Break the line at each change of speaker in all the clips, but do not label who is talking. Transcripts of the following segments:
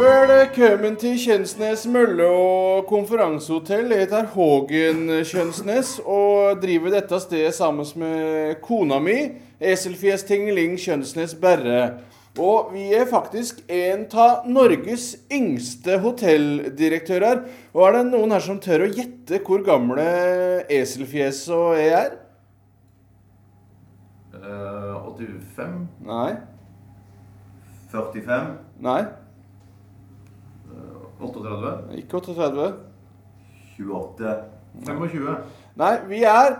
Velkommen eh, til Kjønsnes mølle og konferansehotell. Jeg heter Hågen Kjønsnes og driver dette stedet sammen med kona mi, Eselfjes Tingeling Kjønsnes Berre. Og vi er faktisk en av Norges yngste hotelldirektører. Og er det noen her som tør å gjette hvor gamle Eselfjes og jeg er?
Eh, 85,
Nei?
45,
Nei?
38,
Ikke 38?
28, 25.
Nei, vi er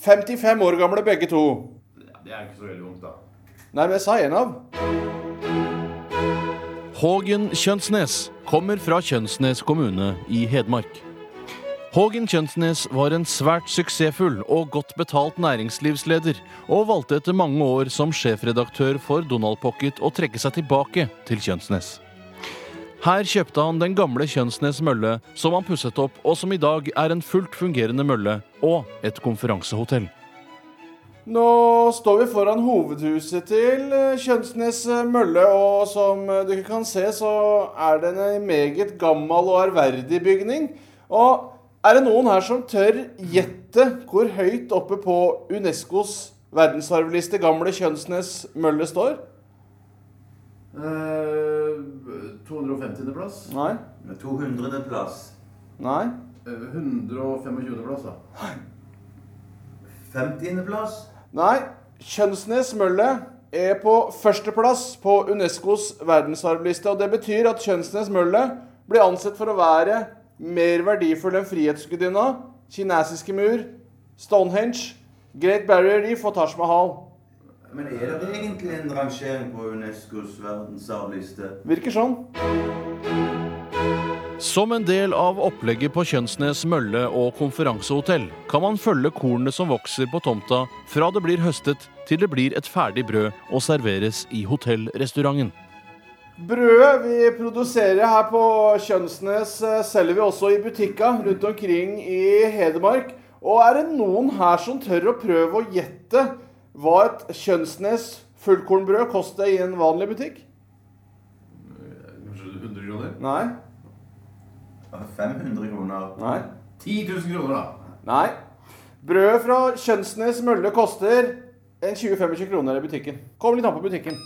55 år gamle begge to.
Ja, Det er ikke så veldig vondt, da.
Nei, men jeg sa en av.
Hågen Kjønsnes kommer fra Kjønsnes kommune i Hedmark. Hågen Kjønsnes var en svært suksessfull og godt betalt næringslivsleder, og valgte etter mange år som sjefredaktør for Donald Pocket å trekke seg tilbake til Kjønsnes. Her kjøpte han den gamle Kjønsnes mølle, som han pusset opp, og som i dag er en fullt fungerende mølle og et konferansehotell.
Nå står vi foran hovedhuset til eh, Kjønsnes eh, mølle, og som eh, dere kan se, så er den en meget gammel og ærverdig bygning. Og er det noen her som tør gjette hvor høyt oppe på Unescos verdensarvliste gamle Kjønsnes mølle står?
Eh, 250. plass.
Nei?
200. plass.
Nei?
Eh, 125. plass, da.
50. plass.
Nei. Kjønsnes mølle er på førsteplass på Unescos verdensarvliste. Og det betyr at Kjønsnes mølle blir ansett for å være mer verdifull enn Frihetsgudinna, kinesiske mur, Stonehenge, Great Barrier Reef og Taj Mahal.
Men er det egentlig en rangering på Unescos verdensarvliste?
Virker sånn.
Som en del av opplegget på Kjønsnes mølle og konferansehotell kan man følge kornene som vokser på tomta fra det blir høstet til det blir et ferdig brød og serveres i hotellrestauranten.
Brødet vi produserer her på Kjønsnes, eh, selger vi også i butikker rundt omkring i Hedmark. Og er det noen her som tør å prøve å gjette hva et Kjønsnes fullkornbrød koster i en vanlig butikk?
Eh, Kanskje 100 kroner?
Nei.
500 kroner.
Nei.
10 000 kroner, da.
Nei. Brødet fra Kjønsnes mølle koster en 20-25 kroner i butikken. Kom litt an på butikken.